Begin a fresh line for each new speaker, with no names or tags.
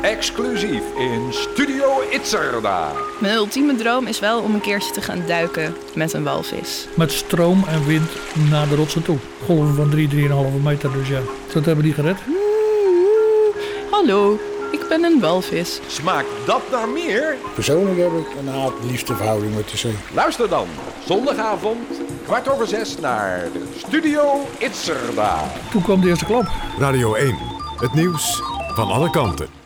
Exclusief in Studio Itzerda.
Mijn ultieme droom is wel om een keertje te gaan duiken met een walvis.
Met stroom en wind naar de rotsen toe. Golven van 3, 3,5 meter dus ja. Dat hebben die gered.
Hallo, ik ben een walvis.
Smaakt dat naar meer?
Persoonlijk heb ik een haat-liefdeverhouding met de zee.
Luister dan zondagavond kwart over zes naar Studio Itzerda.
Toen kwam de eerste klap.
Radio 1. Het nieuws van alle kanten.